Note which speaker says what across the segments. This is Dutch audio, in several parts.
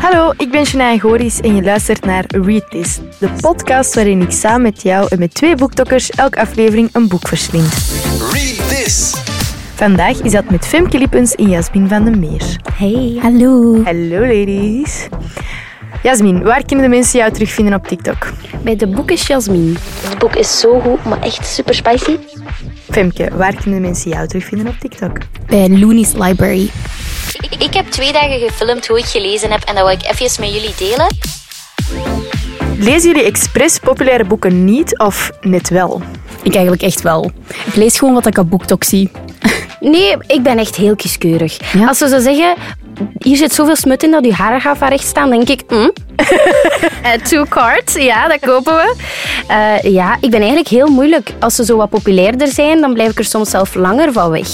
Speaker 1: Hallo, ik ben Shania Goris en je luistert naar Read This, de podcast waarin ik samen met jou en met twee boektokkers elke aflevering een boek verslind.
Speaker 2: Read this.
Speaker 1: Vandaag is dat met Femke Lippens en Jasmin van den Meer.
Speaker 3: Hey. Hallo.
Speaker 1: Hallo ladies. Jasmin, waar kunnen de mensen jou terugvinden op TikTok?
Speaker 3: Bij de boek is Jasmin.
Speaker 4: Het boek is zo goed, maar echt super spicy.
Speaker 1: Femke, waar kunnen de mensen jou terugvinden op TikTok?
Speaker 3: Bij Looney's Library.
Speaker 4: Ik heb twee dagen gefilmd hoe ik gelezen heb en dat wil ik even met jullie delen.
Speaker 1: Lezen jullie expres populaire boeken niet of net wel?
Speaker 3: Ik eigenlijk echt wel. Ik lees gewoon wat ik op BookTok zie.
Speaker 5: Nee, ik ben echt heel kieskeurig. Als ze zo zeggen, hier zit zoveel smut in dat je haren gaan van recht staan, denk ik, hm? Eh, two cards, ja, dat kopen we. Eh, ja, ik ben eigenlijk heel moeilijk. Als ze zo wat populairder zijn, dan blijf ik er soms zelf langer van weg.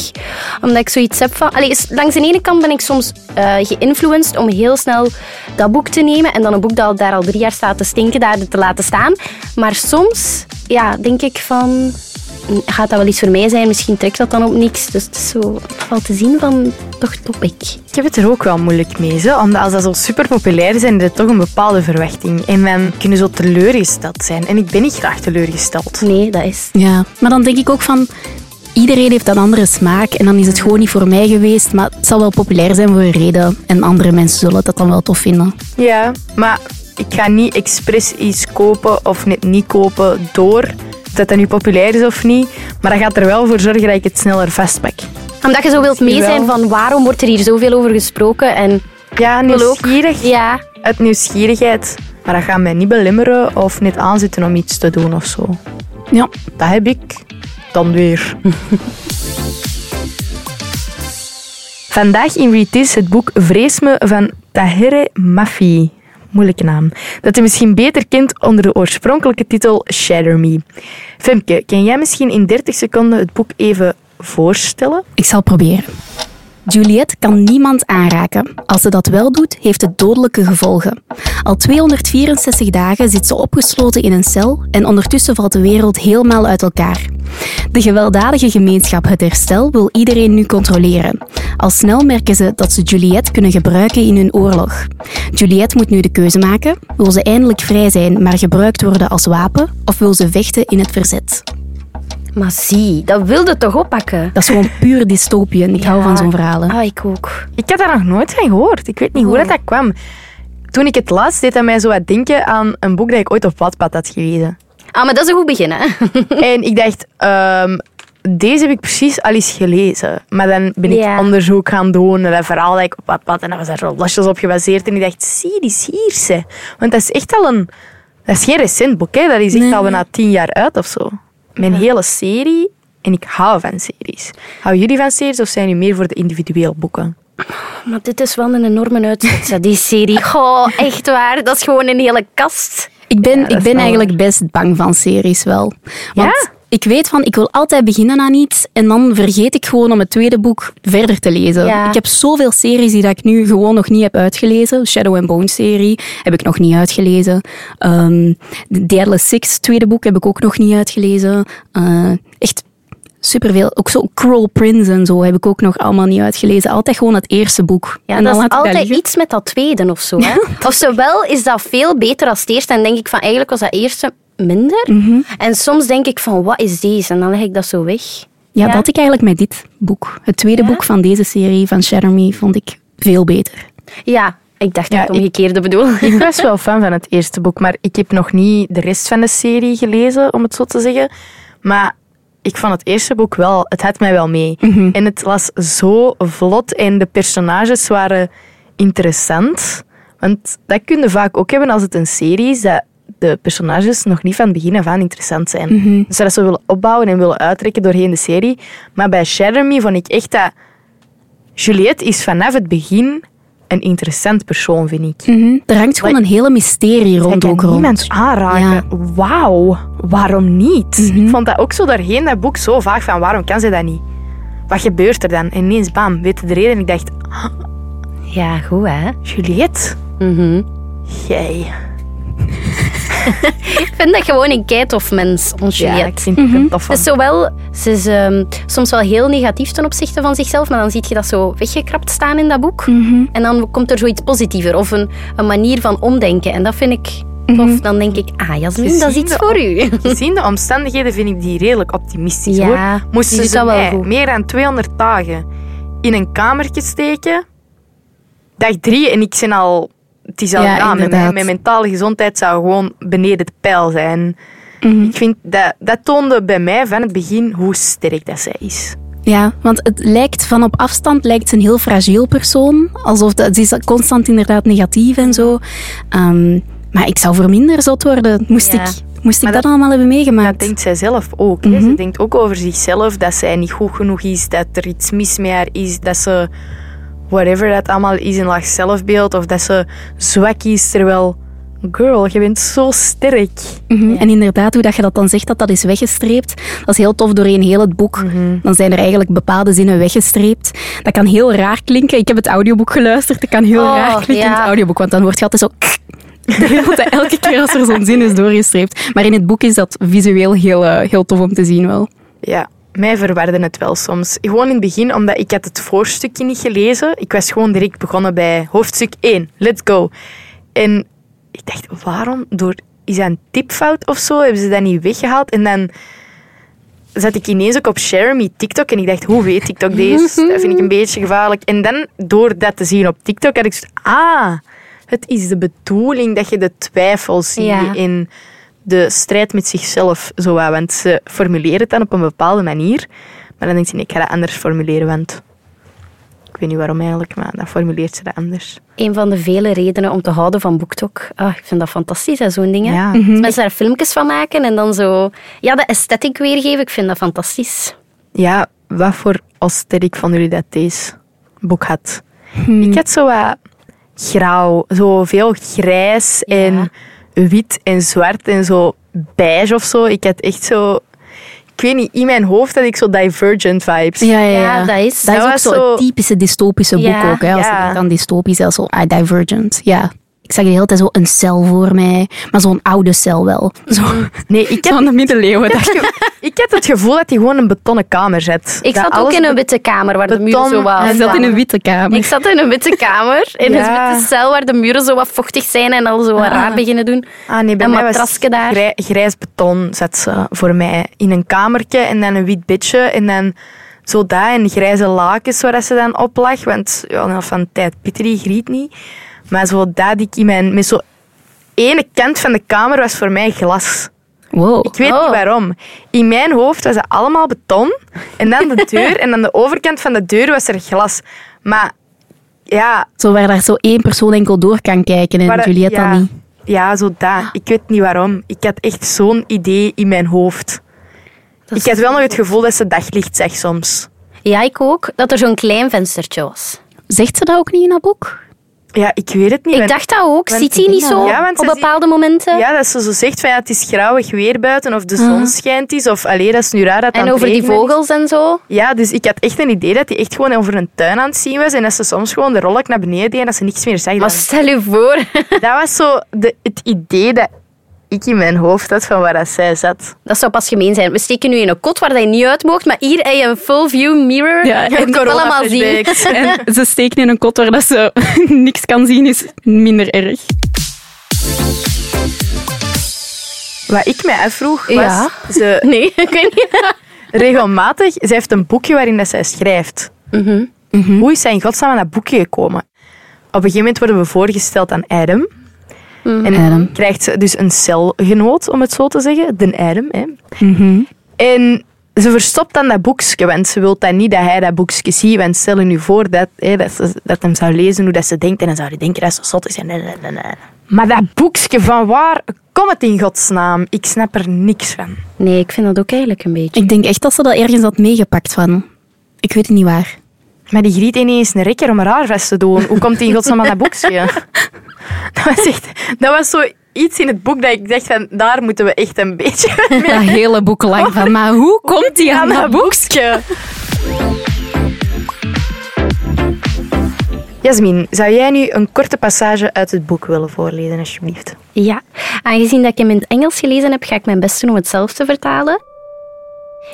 Speaker 5: Omdat ik zoiets heb van... Allee, s- langs de ene kant ben ik soms eh geïnfluenced om heel snel dat boek te nemen en dan een boek dat al- daar al drie jaar staat te stinken, daar te laten staan. Maar soms, ja, denk ik van... "Mm, Gaat dat wel iets voor mij zijn? Misschien trekt dat dan op niks. Dus het is zo valt te zien van, toch topic.
Speaker 1: Ik heb het er ook wel moeilijk mee, zo, omdat als dat zo super populair zijn, is er toch een bepaalde verwachting. En men kunnen zo teleurgesteld zijn. En ik ben niet graag teleurgesteld.
Speaker 5: Nee, dat is.
Speaker 3: Ja, maar dan denk ik ook van... Iedereen heeft een andere smaak en dan is het gewoon niet voor mij geweest. Maar het zal wel populair zijn voor een reden. En andere mensen zullen dat dan wel tof vinden.
Speaker 1: Ja, maar ik ga niet expres iets kopen of net niet kopen door dat dat nu populair is of niet. Maar dat gaat er wel voor zorgen dat ik het sneller vastpak.
Speaker 5: Omdat je zo wilt mee
Speaker 1: Jawel.
Speaker 5: zijn van waarom wordt er hier zoveel over gesproken en
Speaker 1: Ja, nieuwsgierig.
Speaker 5: ja,
Speaker 1: Uit nieuwsgierigheid. Maar dat gaat mij niet belemmeren of net aanzetten om iets te doen of zo.
Speaker 3: Ja,
Speaker 1: Dat heb ik dan weer. Vandaag in Read This het boek Vrees me van Tahere Mafi. Moeilijke naam. Dat je misschien beter kent onder de oorspronkelijke titel Shatter Me. Femke, kan jij misschien in 30 seconden het boek even voorstellen?
Speaker 3: ik zal proberen. Juliet kan niemand aanraken. Als ze dat wel doet, heeft het dodelijke gevolgen. Al 264 dagen zit ze opgesloten in een cel en ondertussen valt de wereld helemaal uit elkaar. De gewelddadige gemeenschap Het Herstel wil iedereen nu controleren. Al snel merken ze dat ze Juliet kunnen gebruiken in hun oorlog. Juliet moet nu de keuze maken. Wil ze eindelijk vrij zijn, maar gebruikt worden als wapen? Of wil ze vechten in het verzet?
Speaker 5: maar zie, dat wilde toch oppakken?
Speaker 3: Dat is gewoon puur dystopiën. Ik hou van zo'n verhalen.
Speaker 5: Ah, ik ook.
Speaker 1: Ik had daar nog nooit van gehoord. Ik weet niet hoe dat, dat kwam. Toen ik het las, deed dat mij zo wat denken aan een boek dat ik ooit op Wattpad had gelezen.
Speaker 5: Ah, maar dat is een goed begin, hè?
Speaker 1: En ik dacht, ehm, deze heb ik precies al eens gelezen. Maar dan ben ik
Speaker 5: Ja.
Speaker 1: onderzoek gaan doen naar dat verhaal dat ik op wat pad. En dat was daar zo losjes op gebaseerd. En ik dacht, zie, die is hier, ze. Want dat is echt al een... Dat is geen recent boek, hè. Dat is echt
Speaker 3: Nee.
Speaker 1: al bijna tien jaar uit of zo. Mijn hele serie... En ik hou van series. Houden jullie van series of zijn jullie meer voor de individuele boeken?
Speaker 5: Maar dit is wel een enorme uitzet, hè, die serie. Goh, echt waar. Dat is gewoon een hele kast.
Speaker 3: Ik ben,
Speaker 1: dat
Speaker 3: ik
Speaker 1: is
Speaker 3: ben
Speaker 1: wel
Speaker 3: eigenlijk best bang van series wel. Want
Speaker 1: Ja?
Speaker 3: ik weet van, ik wil altijd beginnen aan iets en dan vergeet ik gewoon om het tweede boek verder te lezen.
Speaker 5: Ja.
Speaker 3: Ik heb zoveel series die dat ik nu gewoon nog niet heb uitgelezen. Shadow and Bone serie heb ik nog niet uitgelezen. Ehm de Deadless Six tweede boek heb ik ook nog niet uitgelezen. Eh, echt superveel. Ook zo Cruel Prince en zo heb ik ook nog allemaal niet uitgelezen. Altijd gewoon het eerste boek.
Speaker 5: Ja,
Speaker 3: en dan
Speaker 5: dat is
Speaker 3: laat ik
Speaker 5: altijd
Speaker 3: liggen.
Speaker 5: iets met dat tweede of zo. Hè? Of zowel is dat veel beter als het eerste. En denk ik van, eigenlijk was dat eerste minder. En soms denk ik van, wat is deze? En dan leg ik dat zo weg.
Speaker 3: Ja, dat ik eigenlijk met dit boek. Het tweede boek van deze serie van Shatter Me vond ik veel beter.
Speaker 5: Ja, ik dacht
Speaker 1: Ja, ik-
Speaker 5: dat ik het omgekeerde bedoel.
Speaker 1: Ik was wel fan van het eerste boek, maar ik heb nog niet de rest van de serie gelezen, om het zo te zeggen. Maar ik vond het eerste boek wel, het had mij wel mee. En het was zo vlot en de personages waren interessant. Want dat kun je vaak ook hebben als het een serie is, dat de personages nog niet van het begin af aan interessant zijn. Dus dat ze willen opbouwen en willen uittrekken doorheen de serie. Maar bij Shatter Me vond ik echt dat... Juliette is vanaf het begin een interessant persoon, vind ik.
Speaker 3: Er hangt gewoon een hele mysterie
Speaker 1: Hij
Speaker 3: rond
Speaker 1: kan
Speaker 3: ook rond.
Speaker 1: niemand aanraken. Wauw, waarom niet?
Speaker 5: Mhm.
Speaker 1: Ik vond dat ook zo doorheen, dat boek, zo vaag van waarom kan ze dat niet? Wat gebeurt er dan? En ineens, bam, weet je de reden? Ik dacht,
Speaker 5: Ja, goed hè.
Speaker 1: Juliette,
Speaker 5: Mhm.
Speaker 1: jij.
Speaker 5: ik vind dat gewoon een keitof mens, ons
Speaker 1: Ja,
Speaker 5: Juliette.
Speaker 1: ik vind het een tof
Speaker 5: Ze is Dus zowel, ze is ehm, soms wel heel negatief ten opzichte van zichzelf, maar dan zie je dat zo weggekrapt staan in dat boek.
Speaker 1: Mhm.
Speaker 5: En dan komt er zoiets positiever of een, een manier van omdenken. En dat vind ik tof.
Speaker 1: Mhm.
Speaker 5: Dan denk ik, ah Jasmin, dat is iets voor u.
Speaker 1: Gezien de omstandigheden vind ik die redelijk optimistisch.
Speaker 5: Ja,
Speaker 1: hoor.
Speaker 5: die
Speaker 1: Moesten
Speaker 5: doet
Speaker 1: ze
Speaker 5: dat wel
Speaker 1: mij
Speaker 5: goed.
Speaker 1: meer dan 200 dagen in een kamertje steken, dag drie en ik zijn al... Het is al
Speaker 3: Ja,
Speaker 1: gedaan. Met
Speaker 3: inderdaad.
Speaker 1: Mijn, mijn mentale gezondheid zou gewoon beneden de pijl zijn.
Speaker 5: Mhm.
Speaker 1: Ik vind dat, dat toonde bij mij van het begin hoe sterk dat zij is.
Speaker 3: Ja, want het lijkt van op afstand lijkt ze een heel fragiel persoon. Alsof dat, ze is constant inderdaad negatief en zo. Ehm, maar ik zou voor minder zot worden, moest
Speaker 1: Ja.
Speaker 3: ik, moest ik
Speaker 1: Maar
Speaker 3: dat,
Speaker 1: dat-
Speaker 3: allemaal hebben meegemaakt.
Speaker 1: Dat denkt zij zelf ook. hè. Ze denkt ook over zichzelf dat zij niet goed genoeg is, dat er iets mis met haar is, dat ze whatever dat allemaal is, een laag zelfbeeld of dat ze zwak is. Terwijl, girl, je bent zo sterk.
Speaker 3: Mhm. En inderdaad, hoe dat je dat dan zegt, dat dat is weggestreept. Dat is heel tof doorheen heel het boek. Dan zijn er eigenlijk bepaalde zinnen weggestreept. Dat kan heel raar klinken. Ik heb het audioboek geluisterd. Dat kan heel
Speaker 5: Oh,
Speaker 3: raar klinken in
Speaker 5: ja.
Speaker 3: het audioboek. Want dan wordt je altijd zo... de hele tijd, Elke keer als er zo'n zin is doorgestreept. Maar in het boek is dat visueel heel, eh, heel tof om te zien wel.
Speaker 1: Ja, mij verwarde het wel soms. Gewoon in het begin, omdat ik had het voorstukje niet gelezen. Ik was gewoon direct begonnen bij hoofdstuk 1, let's go. En ik dacht, waarom? Door, is dat een tipfout of zo? Hebben ze dat niet weggehaald? En dan zat ik ineens ook op Jeremy TikTok en ik dacht, hoe weet TikTok deze? Dat vind ik een beetje gevaarlijk. En dan, door dat te zien op TikTok, had ik zoiets ah, het is de bedoeling dat je de twijfel ziet
Speaker 5: Ja.
Speaker 1: in de strijd met zichzelf. Zo, wat. want ze formuleren het dan op een bepaalde manier, maar dan denkt ze, nee, ik ga dat anders formuleren, want... Ik weet niet waarom eigenlijk, maar dan formuleert ze dat anders.
Speaker 5: Een van de vele redenen om te houden van BookTok. Ah, ik vind dat fantastisch, hè, zo'n dingen.
Speaker 1: Ja. Mhm.
Speaker 5: Als mensen daar filmpjes van maken en dan zo... Ja, de aesthetic weergeven, ik vind dat fantastisch.
Speaker 1: Ja, wat voor aesthetic vonden jullie dat deze boek had?
Speaker 3: Hmm.
Speaker 1: Ik had zo wat grauw, zo veel grijs en wit en zwart en zo beige of zo. Ik had echt zo, ik weet niet, in mijn hoofd had ik zo divergent vibes.
Speaker 3: Ja, ja,
Speaker 5: Ja, dat is-
Speaker 3: dat
Speaker 1: dat
Speaker 3: is ook
Speaker 1: was
Speaker 3: zo'n
Speaker 1: zo-
Speaker 3: typische dystopische boek
Speaker 5: Ja,
Speaker 3: ook. Hè, als
Speaker 1: ja.
Speaker 3: je denkt aan dystopisch, dat is zo ah, Divergent. Ja. Ik zag de hele tijd zo een cel voor mij, maar zo'n oude cel wel. Zo,
Speaker 1: Nee, ik had,
Speaker 3: van de middeleeuwen. dacht ik.
Speaker 1: ik had het gevoel dat hij gewoon een betonnen kamer zet.
Speaker 5: Ik
Speaker 1: Dat
Speaker 5: zat ook
Speaker 1: alles
Speaker 5: in een
Speaker 1: be-
Speaker 5: witte kamer waar de muren
Speaker 1: beton
Speaker 5: zo wat...
Speaker 3: Hij
Speaker 1: en
Speaker 3: zat in een
Speaker 5: afstaan.
Speaker 3: witte kamer.
Speaker 5: Ik zat in een witte kamer, in
Speaker 1: Ja.
Speaker 5: een witte cel waar de muren zo wat vochtig zijn en al zo wat raar beginnen doen.
Speaker 1: Ah nee, bij
Speaker 5: een
Speaker 1: mij was
Speaker 5: matrasje daar.
Speaker 1: grij- grijs beton zat ze voor mij in een kamertje en dan een wit bedje en dan zo dat en grijze lakens waar dat ze dan op lag. Want ja, nou, van tijd Pieter die griet niet. Maar zo dat ik in mijn... Met zo ene kant van de kamer was voor mij glas.
Speaker 3: Wow.
Speaker 1: Ik weet
Speaker 5: Oh.
Speaker 1: niet waarom. In mijn hoofd was dat allemaal beton. En dan de deur. en aan de overkant van de deur was er glas. Maar ja,
Speaker 3: Zo waar daar zo één persoon enkel door kan kijken en
Speaker 1: maar,
Speaker 3: Juliette
Speaker 1: ja,
Speaker 3: dan niet.
Speaker 1: Ja, zo dat. Ik weet niet waarom. Ik had echt zo'n idee in mijn hoofd.
Speaker 5: Dat is-
Speaker 1: ik had wel nog het gevoel dat ze daglicht zegt soms.
Speaker 5: Ja, ik ook. Dat er zo'n klein venstertje was.
Speaker 3: Zegt ze dat ook niet in dat boek?
Speaker 1: Ja, ik weet het niet.
Speaker 5: Ik
Speaker 1: want-
Speaker 5: dacht dat ook.
Speaker 1: want-
Speaker 5: Ziet hij niet zo
Speaker 1: Ja, want
Speaker 5: op
Speaker 1: ze zie-
Speaker 5: bepaalde momenten?
Speaker 1: Ja, dat ze zo zegt van ja, het is grauwig weer buiten of de zon schijnt is. Of allee, dat is nu raar dat het aan
Speaker 5: en
Speaker 1: het
Speaker 5: over die
Speaker 1: regenen is.
Speaker 5: vogels en zo.
Speaker 1: Ja, dus ik had echt een idee dat hij echt gewoon over een tuin aan het zien was. En dat ze soms gewoon de rollen naar beneden deed en dat ze niks meer zag.
Speaker 5: Maar
Speaker 1: dan.
Speaker 5: stel je voor
Speaker 1: Dat was zo de, het idee dat ik in mijn hoofd had van waar dat zij zat.
Speaker 5: Dat zou pas gemeen zijn. We steken nu in een kot waar je niet uit moogt, maar hier heb je een full view mirror.
Speaker 3: Ja,
Speaker 5: je
Speaker 3: en
Speaker 5: kunt het allemaal zien.
Speaker 1: Corona-flashbacks.
Speaker 3: En ze steken in een kot waar dat ze niks kan zien, is minder erg.
Speaker 1: Wat ik mij afvroeg was,
Speaker 5: Ja.
Speaker 1: ze
Speaker 5: Nee, ik weet niet.
Speaker 1: regelmatig. Zij heeft een boekje waarin dat zij schrijft. Mhm. Hoe is zij in godsnaam aan dat boekje gekomen? Op een gegeven moment worden we voorgesteld aan Adam. En
Speaker 3: Adam.
Speaker 1: krijgt ze dus een celgenoot, om het zo te zeggen. Den Adam. Hè. Mhm. En ze verstopt dan dat boekje, want ze wil dan niet dat hij dat boekje ziet. Want stel je nu voor dat, hè, dat, ze, dat hem zou lezen hoe dat ze denkt. En dan zou hij denken dat ze zot is. En, en, en, en, en. Maar dat boekje, van waar komt het in godsnaam? Ik snap er niks van.
Speaker 5: Nee, ik vind dat ook eigenlijk een beetje.
Speaker 3: Ik denk echt dat ze dat ergens had meegepakt van. Ik weet het niet waar.
Speaker 1: Maar die griet ineens een rekker om haar haar vast te doen. Hoe komt die in godsnaam aan dat boekje? Dat was echt... Dat was zo iets in het boek dat ik dacht van... Daar moeten we echt een beetje mee
Speaker 3: Dat hele boek lang van. Maar hoe komt die aan dat boekje?
Speaker 1: Jasmin, zou jij nu een korte passage uit het boek willen voorlezen, alsjeblieft?
Speaker 5: Ja, aangezien dat ik hem in het Engels gelezen heb, ga ik mijn best doen om het zelf te vertalen.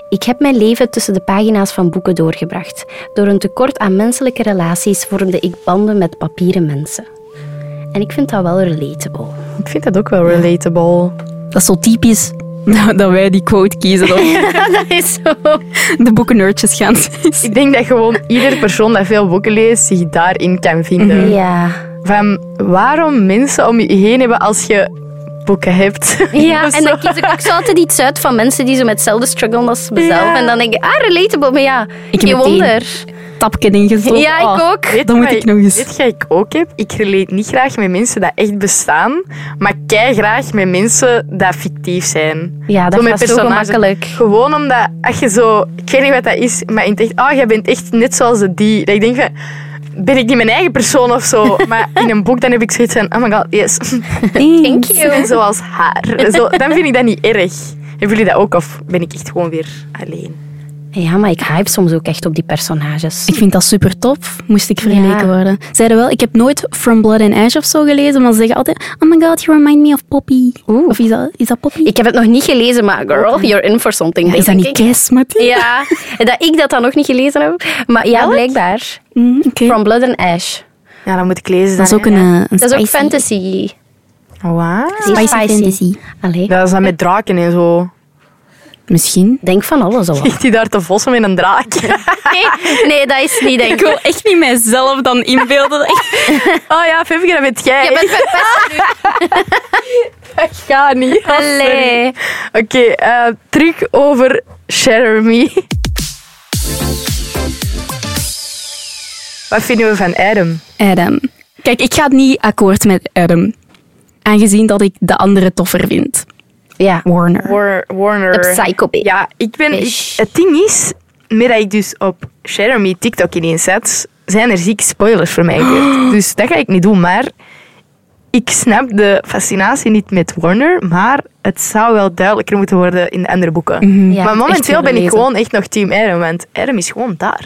Speaker 5: Ik heb mijn leven tussen de pagina's van boeken doorgebracht. Door een tekort aan menselijke relaties vormde ik banden met papieren mensen. En ik vind dat wel relatable.
Speaker 1: Ik vind dat ook wel relatable.
Speaker 3: Dat is zo typisch dat, dat wij die quote kiezen. Dat we
Speaker 5: dat is zo.
Speaker 3: de boekennerdjes gaan.
Speaker 1: Ik denk dat gewoon ieder persoon dat veel boeken leest zich daarin kan vinden.
Speaker 5: Ja.
Speaker 1: Van waarom mensen om je heen hebben als je boeken hebt.
Speaker 5: Ja,
Speaker 1: Of
Speaker 5: en
Speaker 1: zo.
Speaker 5: dan kies ik ook zo altijd iets uit van mensen die zo met hetzelfde struggelen als mezelf.
Speaker 1: Ja.
Speaker 5: En dan denk ik, ah, relatable, maar ja,
Speaker 3: Ik
Speaker 5: je
Speaker 3: meteen.
Speaker 5: wonder.
Speaker 3: Tapken ingestoken.
Speaker 5: Ja, ik ook.
Speaker 1: Weet
Speaker 3: Dat
Speaker 1: je
Speaker 3: moet
Speaker 1: wat
Speaker 3: ik nog eens.
Speaker 1: Weet je wat ik ook heb? Ik relate niet graag met mensen dat echt bestaan, maar kei graag met mensen dat fictief zijn.
Speaker 5: Ja, dat
Speaker 1: Zo met
Speaker 5: was zo
Speaker 1: personages.
Speaker 5: gemakkelijk.
Speaker 1: Gewoon omdat, als je zo... Ik weet niet wat dat is, maar in het echt... Oh, jij bent echt net zoals de die. Dat ik denk van... Ben ik niet mijn eigen persoon of zo? Maar in een boek dan heb ik zoiets van... Oh my god, yes.
Speaker 5: Thank
Speaker 1: Ik
Speaker 5: you.
Speaker 1: ben zoals haar. Zo, dan vind ik dat niet erg. Hebben jullie dat ook? Of ben ik echt gewoon weer alleen?
Speaker 5: Ja, maar ik hype soms ook echt op die personages.
Speaker 3: Ik vind dat super tof. Moest ik vergeleken
Speaker 5: Ja.
Speaker 3: worden. Zeiden wel, ik heb nooit From Blood and Ash of zo gelezen, maar ze zeggen altijd: Oh my god, you remind me of Poppy. Of is dat, is dat Poppy?
Speaker 5: Ik heb het nog niet gelezen, maar girl, you're in for something.
Speaker 3: Ja, is dat
Speaker 5: denk
Speaker 3: niet
Speaker 5: ik.
Speaker 3: Kes, Mathilde?
Speaker 5: Ja, dat ik dat dan nog niet gelezen heb. Maar ja, blijkbaar.
Speaker 3: Mm, oké.
Speaker 5: From Blood and Ash.
Speaker 1: Ja, dan moet ik lezen.
Speaker 3: Dat is ook een, eh, een
Speaker 5: Dat is ook
Speaker 3: spicy-
Speaker 5: fantasy.
Speaker 1: Wow.
Speaker 3: Spicy
Speaker 5: Spicy.
Speaker 3: fantasy.
Speaker 5: Allee,
Speaker 1: Dat is dan met draken en zo.
Speaker 3: Misschien.
Speaker 5: denk van alles al.
Speaker 1: Ligt hij daar te vossen met een draak?
Speaker 5: Nee, nee, dat is niet, denk
Speaker 3: Ik
Speaker 5: ik.
Speaker 3: wil echt niet mijzelf dan inbeelden.
Speaker 1: Oh ja, Femke, dat bent jij.
Speaker 5: Je bent verpest nu.
Speaker 1: Dat gaat niet. Oh, sorry.
Speaker 5: Allee.
Speaker 1: Oké, eh, terug over Share Me. Wat vinden we van Adam?
Speaker 3: Adam. Kijk, ik ga niet akkoord met Adam. Aangezien dat ik de andere toffer vind.
Speaker 5: Ja,
Speaker 3: Warner.
Speaker 1: War- Warner.
Speaker 5: de psycho bitch.
Speaker 1: Ja, ik ben... ik-
Speaker 5: Ish.
Speaker 1: het ding is, met dat ik dus op Share Me TikTok ineens zat, zijn er ziek spoilers voor mij gebeurd. Dus dat ga ik niet doen, maar... Ik snap de fascinatie niet met Warner, maar het zou wel duidelijker moeten worden in de andere boeken.
Speaker 5: Mhm. Ja,
Speaker 1: maar
Speaker 5: echt
Speaker 1: momenteel
Speaker 5: willen
Speaker 1: ben ik
Speaker 5: lezen.
Speaker 1: gewoon echt nog team Adam, want Adam is gewoon daar.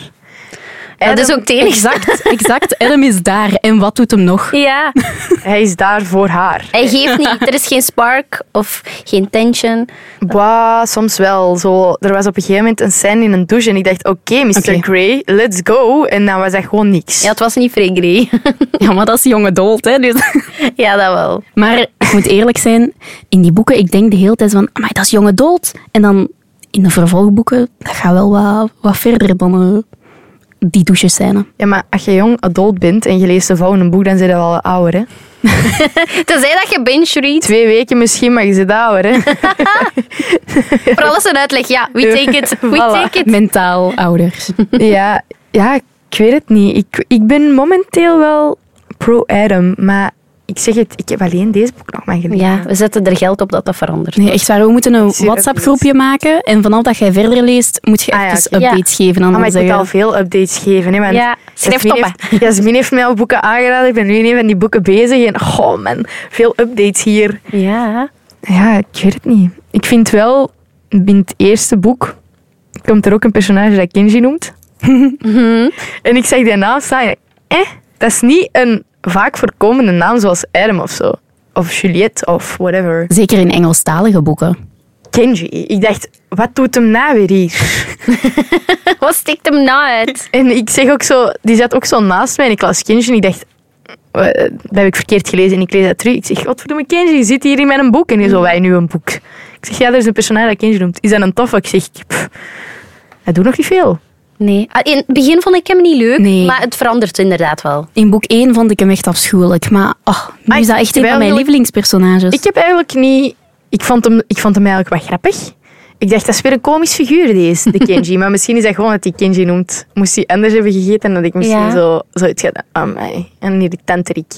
Speaker 5: Dat is
Speaker 1: Adam-
Speaker 5: dus ook het enige.
Speaker 3: Exact, exact. Adam is daar. En wat doet hem nog?
Speaker 5: Ja,
Speaker 1: Hij is daar voor haar.
Speaker 5: hij geeft niet. Er is geen spark of geen tension.
Speaker 1: Bah, soms wel. Zo, er was op een gegeven moment een scène in een douche en ik dacht, oké, Mr.
Speaker 3: Oké.
Speaker 1: Grey, let's go. En dan was dat gewoon niks.
Speaker 5: Ja, het was niet Frey Grey.
Speaker 3: Ja, maar dat is jonge dood, hè. Dus.
Speaker 5: Ja, dat wel.
Speaker 3: Maar ik moet eerlijk zijn, in die boeken, ik denk de hele tijd van, maar dat is jonge dood. En dan in de vervolgboeken, dat gaat wel wat, wat verder dan eh, die douchescène.
Speaker 1: Ja, maar als je jong adult bent en je leest de volgende boek, dan zit je wel ouder, hè?
Speaker 5: Tenzij dat je binge read.
Speaker 1: Twee weken misschien, maar je zit ouder, hè?
Speaker 5: Voor alles een uitleg. Ja, we take it. We
Speaker 1: Voilà.
Speaker 5: take it.
Speaker 3: Mentaal ouder.
Speaker 1: ja, ja, ik weet het niet. Ik, ik ben momenteel wel pro-Adam, maar ik zeg het, ik heb alleen deze boek nog maar gelezen.
Speaker 5: Ja, we zetten er geld op dat dat verandert.
Speaker 3: Nee, echt waar. We moeten
Speaker 1: Zie
Speaker 3: een
Speaker 1: je dat
Speaker 3: WhatsApp-groepje maken. En vanaf dat jij verder leest, moet je
Speaker 1: Ah, ja,
Speaker 3: even
Speaker 1: oké.
Speaker 3: updates geven aan
Speaker 1: Ah, maar ik
Speaker 3: zeggen.
Speaker 1: moet al veel updates geven. Hè, want
Speaker 5: Ja, schrijf
Speaker 1: Jasmin
Speaker 5: op,
Speaker 1: heeft, Jasmin heeft mij al boeken aangeraden. Ik ben nu in een van die boeken bezig. En oh man, veel updates hier.
Speaker 5: Ja.
Speaker 1: Ja, ik weet het niet. Ik vind wel, in het eerste boek komt er ook een personage dat Kenji noemt. En ik zag die naam staan en ik, eh, dat is niet een vaak voorkomende naam zoals Adam of zo. Of Juliette of whatever.
Speaker 3: Zeker in Engelstalige boeken.
Speaker 1: Kenji. Ik dacht, wat doet hem nou weer hier?
Speaker 5: Wat stikt hem nou uit?
Speaker 1: En ik zeg ook zo, die zat ook zo naast mij en ik las Kenji en ik dacht, eh, dat heb ik verkeerd gelezen en ik lees dat terug. Ik zeg, godverdomme Kenji, je zit hier in mijn boek. En hij zo, wij nu een boek. Ik zeg, ja, er is een personage dat Kenji noemt. Is dat een toffe? Ik zeg, pff, dat doet nog niet veel.
Speaker 5: Nee. Ah, In het begin vond ik hem niet leuk,
Speaker 3: Nee.
Speaker 5: maar het verandert inderdaad wel.
Speaker 3: In boek 1 vond ik hem echt afschuwelijk. Maar oh, nu
Speaker 1: Ah,
Speaker 3: is dat echt een van mijn
Speaker 1: terwijl-
Speaker 3: lievelingspersonages.
Speaker 1: Ik heb eigenlijk niet... Ik vond hem, ik vond hem eigenlijk wat grappig. Ik dacht, dat is weer een komisch figuur, deze, de Kenji. maar misschien is dat gewoon dat hij Kenji noemt. Moest hij anders hebben gegeten en dat ik misschien
Speaker 5: Ja.
Speaker 1: zo, zoiets gedaan. Amai, een irritante Riek.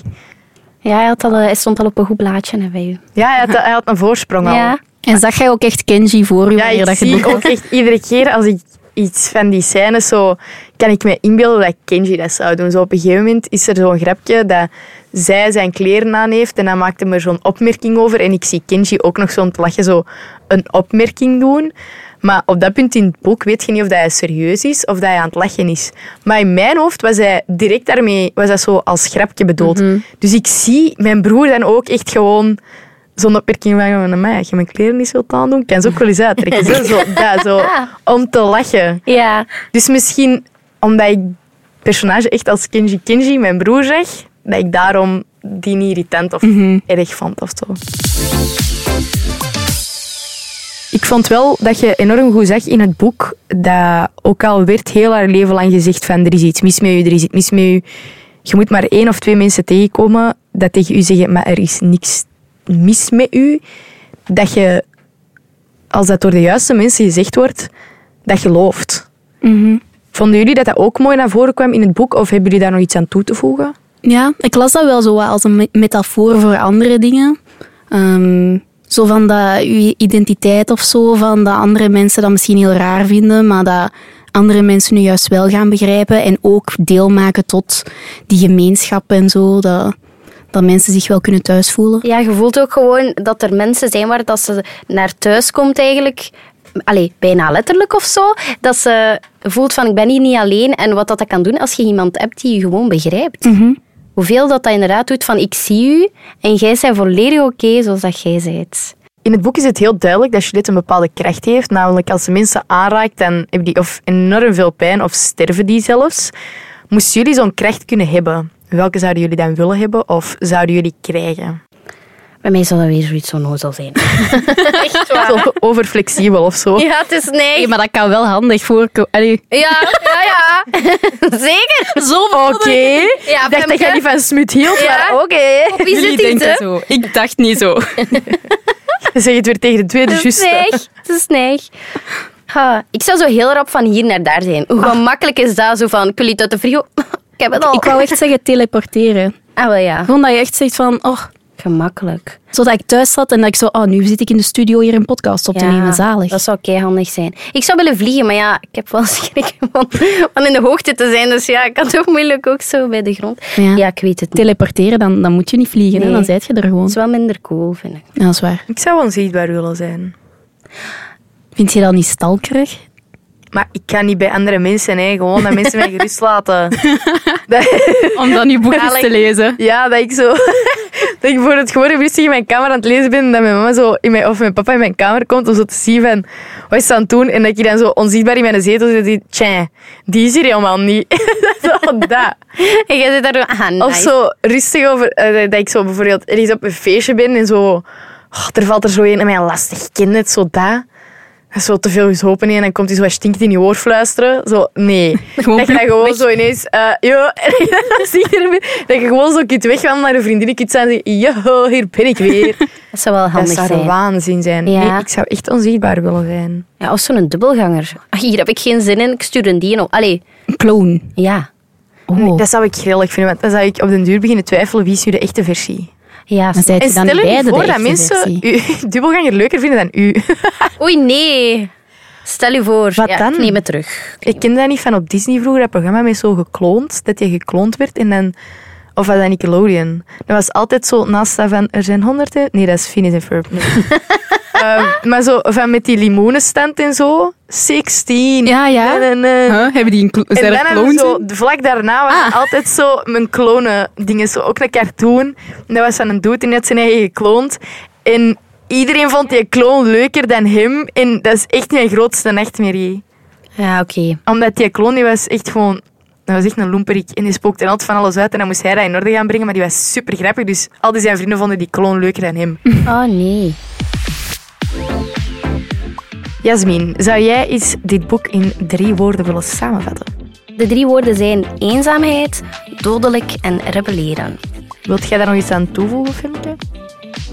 Speaker 5: Ja, hij, had al, eh, hij stond al op een goed blaadje hè, bij u.
Speaker 1: Ja, hij had, hij had een voorsprong al.
Speaker 5: Ja.
Speaker 3: En zag jij ook echt Kenji voor u?
Speaker 1: Ja,
Speaker 3: wanneer
Speaker 1: ik
Speaker 3: dat je
Speaker 1: zie
Speaker 3: het boek
Speaker 1: ook echt iedere keer als ik iets van die scènes zo... Kan ik me inbeelden dat Kenji dat zou doen. Zo op een gegeven moment is er zo'n grapje dat zij zijn kleren aan heeft en dan maakt hem er zo'n opmerking over. En ik zie Kenji ook nog zo'n lachen zo een opmerking doen. Maar op dat punt in het boek weet je niet of dat hij serieus is of dat hij aan het lachen is. Maar in mijn hoofd was hij direct daarmee, was dat zo als grapje bedoeld.
Speaker 3: Mhm.
Speaker 1: Dus ik zie mijn broer dan ook echt gewoon zonder perking van naar mij. Als je mijn kleren niet wilt aandoen, ik kan ze ook wel eens uittrekken. zo, zo, dat, zo, om te lachen.
Speaker 5: Ja.
Speaker 1: Dus misschien omdat ik het personage echt als Kenji Kenji, mijn broer, zag, dat ik daarom die niet irritant of erg vond of zo. Ik vond wel dat je enorm goed zag in het boek dat ook al werd heel haar leven lang gezegd van er is iets mis met u, er is iets mis met u. Je moet maar één of twee mensen tegenkomen dat tegen u zeggen, maar er is niks mis met u. Dat je, als dat door de juiste mensen gezegd wordt, dat gelooft. Vonden jullie dat dat ook mooi naar voren kwam in het boek? Of hebben jullie daar nog iets aan toe te voegen?
Speaker 3: Ja, ik las dat wel zo wat als een me- metafoor voor andere dingen. Ehm, zo van dat je identiteit of zo, van dat andere mensen dat misschien heel raar vinden, maar dat andere mensen nu juist wel gaan begrijpen en ook deel maken tot die gemeenschap en zo, dat, dat mensen zich wel kunnen thuis voelen.
Speaker 5: Ja, je voelt ook gewoon dat er mensen zijn waar dat ze naar thuis komt eigenlijk. Allee, bijna letterlijk of zo. Dat ze voelt van, ik ben hier niet alleen. En wat dat dat kan doen als je iemand hebt die je gewoon begrijpt. Hoeveel dat dat inderdaad doet van, ik zie u en jij bent volledig oké zoals dat jij bent.
Speaker 1: In het boek is het heel duidelijk dat Juliette een bepaalde kracht heeft. Namelijk als ze mensen aanraakt, dan hebben die of enorm veel pijn of sterven die zelfs. Moesten jullie zo'n kracht kunnen hebben? Welke zouden jullie dan willen hebben of zouden jullie krijgen?
Speaker 5: Bij mij zou dat weer zoiets onnozel zijn.
Speaker 1: Zo Overflexibel of zo.
Speaker 5: Ja, het is nee.
Speaker 3: maar dat kan wel handig voorkomen.
Speaker 5: Ja, ja, ja. Zeker.
Speaker 3: Zo
Speaker 1: Oké.
Speaker 5: Ja,
Speaker 1: ik dacht dat
Speaker 5: Femke.
Speaker 1: jij die van Smut hield,
Speaker 5: Ja.
Speaker 1: maar oké.
Speaker 5: Op wie zit dit, hè?
Speaker 3: zo. Ik dacht niet zo.
Speaker 1: Dan Zeg je het weer tegen de tweede
Speaker 5: Het is
Speaker 1: zuster.
Speaker 5: neig. Het is neig. Ha, ik zou zo heel rap van hier naar daar zijn. Hoe gemakkelijk is dat? Zo van, ik wil iets uit de frigo. Ik heb het al.
Speaker 3: Ik wou echt zeggen teleporteren.
Speaker 5: Ah, wel ja.
Speaker 3: Gewoon dat je echt zegt van, oh,
Speaker 5: Gemakkelijk.
Speaker 3: Zodat ik thuis zat en dat ik zo, oh, nu zit ik in de studio hier een podcast op te
Speaker 5: Ja,
Speaker 3: nemen, zalig.
Speaker 5: Dat zou keihandig zijn. Ik zou willen vliegen, maar ja, ik heb wel schrik van, van in de hoogte te zijn. Dus ja, ik kan toch moeilijk ook zo bij de grond.
Speaker 3: Ja.
Speaker 5: Ja, ik weet het niet.
Speaker 3: Teleporteren, dan, dan moet je niet vliegen, hè?
Speaker 5: Nee.
Speaker 3: dan zijt je er
Speaker 5: Het
Speaker 3: gewoon.
Speaker 5: is wel minder cool, vind ik.
Speaker 3: Ja, dat is waar.
Speaker 1: Ik zou onzichtbaar willen zijn.
Speaker 3: Vind je dat niet stalkerig?
Speaker 1: Maar ik kan niet bij andere mensen, hè. gewoon dat mensen mij gerust laten. Dat-
Speaker 3: Om dan je boekjes
Speaker 1: Zalig. te
Speaker 3: lezen.
Speaker 1: ja, dat ik zo. dat ik voor het geworden rustig in mijn kamer aan het lezen ben. en Dat mijn mama zo in mijn, of mijn papa in mijn kamer komt om zo te zien van wat is ze aan het doen. En dat ik dan zo onzichtbaar in mijn zetel zit. en Die, tja, die is hier helemaal niet. zo, dat.
Speaker 5: En jij zit daar zo, ah, nice.
Speaker 1: Of zo rustig over. eh, dat ik zo bijvoorbeeld ergens op een feestje ben en zo. oh, er valt er zo een en mij lastig kind het zo dat. Dat is zo te veel hopen in en dan komt hij zo wat stinkt in je oor fluisteren. Zo, nee.
Speaker 3: Gewoon
Speaker 1: dat je dan gewoon zo ineens, eh yo, en dan zie je er weer- dat je gewoon zo kunt weggaan naar een vriendin kunt zijn en zeggen, yo, hier ben ik weer.
Speaker 5: Dat zou wel
Speaker 1: Dat
Speaker 5: handig
Speaker 1: zou
Speaker 5: zijn.
Speaker 1: waanzin zijn.
Speaker 5: Ja.
Speaker 1: Nee, ik zou echt onzichtbaar willen zijn.
Speaker 5: Ja, of zo'n dubbelganger. Ah, hier heb ik geen zin in, ik stuur een die op. Allee,
Speaker 3: Clone.
Speaker 5: ja.
Speaker 3: Oh,
Speaker 1: Dat zou ik grillig vinden, want dan zou ik op den duur beginnen twijfelen wie is nu de echte versie.
Speaker 5: Ja,
Speaker 3: dan zijt
Speaker 1: En
Speaker 3: je dan
Speaker 1: stel
Speaker 3: niet bij
Speaker 1: je
Speaker 3: de
Speaker 1: voor dat
Speaker 3: echte
Speaker 1: mensen
Speaker 3: versie.
Speaker 1: u dubbelganger leuker vinden dan u.
Speaker 5: Oei, nee. Stel je voor.
Speaker 1: Wat
Speaker 5: Ja,
Speaker 1: dan?
Speaker 5: Ik neem het terug.
Speaker 1: Ik ken dat niet van op Disney vroeger, dat programma met zo gekloond, dat je gekloond werd en dan... Of was dat Nickelodeon? Dat was altijd zo naast dat van, er zijn honderden... Nee, dat is Phineas en Ferb. nee. Ehm, maar zo van met die limonenstand en zo. 16.
Speaker 3: Ja, ja.
Speaker 1: En, en,
Speaker 3: Huh? Hebben die een clo- zijn er
Speaker 1: dan hadden we
Speaker 3: clones
Speaker 1: zo,
Speaker 3: in?
Speaker 1: vlak daarna was het altijd zo mijn klonen dingen. Zo, ook een cartoon. En dat was van een dude die net zijn eigen gekloond. En iedereen vond die kloon leuker dan hem. En dat is echt mijn grootste nachtmerrie
Speaker 5: Ja, oké.
Speaker 1: omdat die kloon die was echt gewoon... Dat was echt een loemperik. En die spookte er altijd van alles uit. En dan moest hij dat in orde gaan brengen. Maar die was super grappig. Dus al die zijn vrienden vonden die kloon leuker dan hem.
Speaker 5: Oh, nee.
Speaker 1: Jasmin, zou jij eens dit boek in drie woorden willen samenvatten?
Speaker 5: De drie woorden zijn eenzaamheid, dodelijk en rebelleren.
Speaker 1: Wilt jij daar nog iets aan toevoegen, Femke?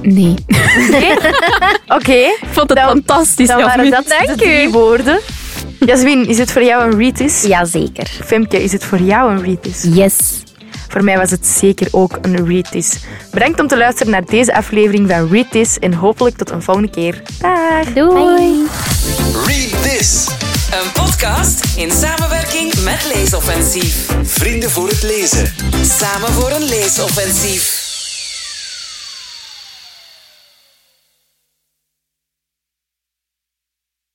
Speaker 3: Nee.
Speaker 1: Oké.
Speaker 3: Ik vond het fantastisch.
Speaker 1: Dan waren
Speaker 3: Jasmin.
Speaker 1: dat de drie woorden. Jasmin, is het voor jou een retis?
Speaker 5: Jazeker.
Speaker 1: Femke, is het voor jou een retis?
Speaker 5: Yes.
Speaker 1: Voor mij was het zeker ook een retis. Bedankt om te luisteren naar deze aflevering van Retis. En hopelijk tot een volgende keer. Dag!
Speaker 5: Doei.
Speaker 2: Read this.
Speaker 6: Een podcast in samenwerking met Leesoffensief.
Speaker 2: Vrienden voor het lezen.
Speaker 6: Samen voor een leesoffensief.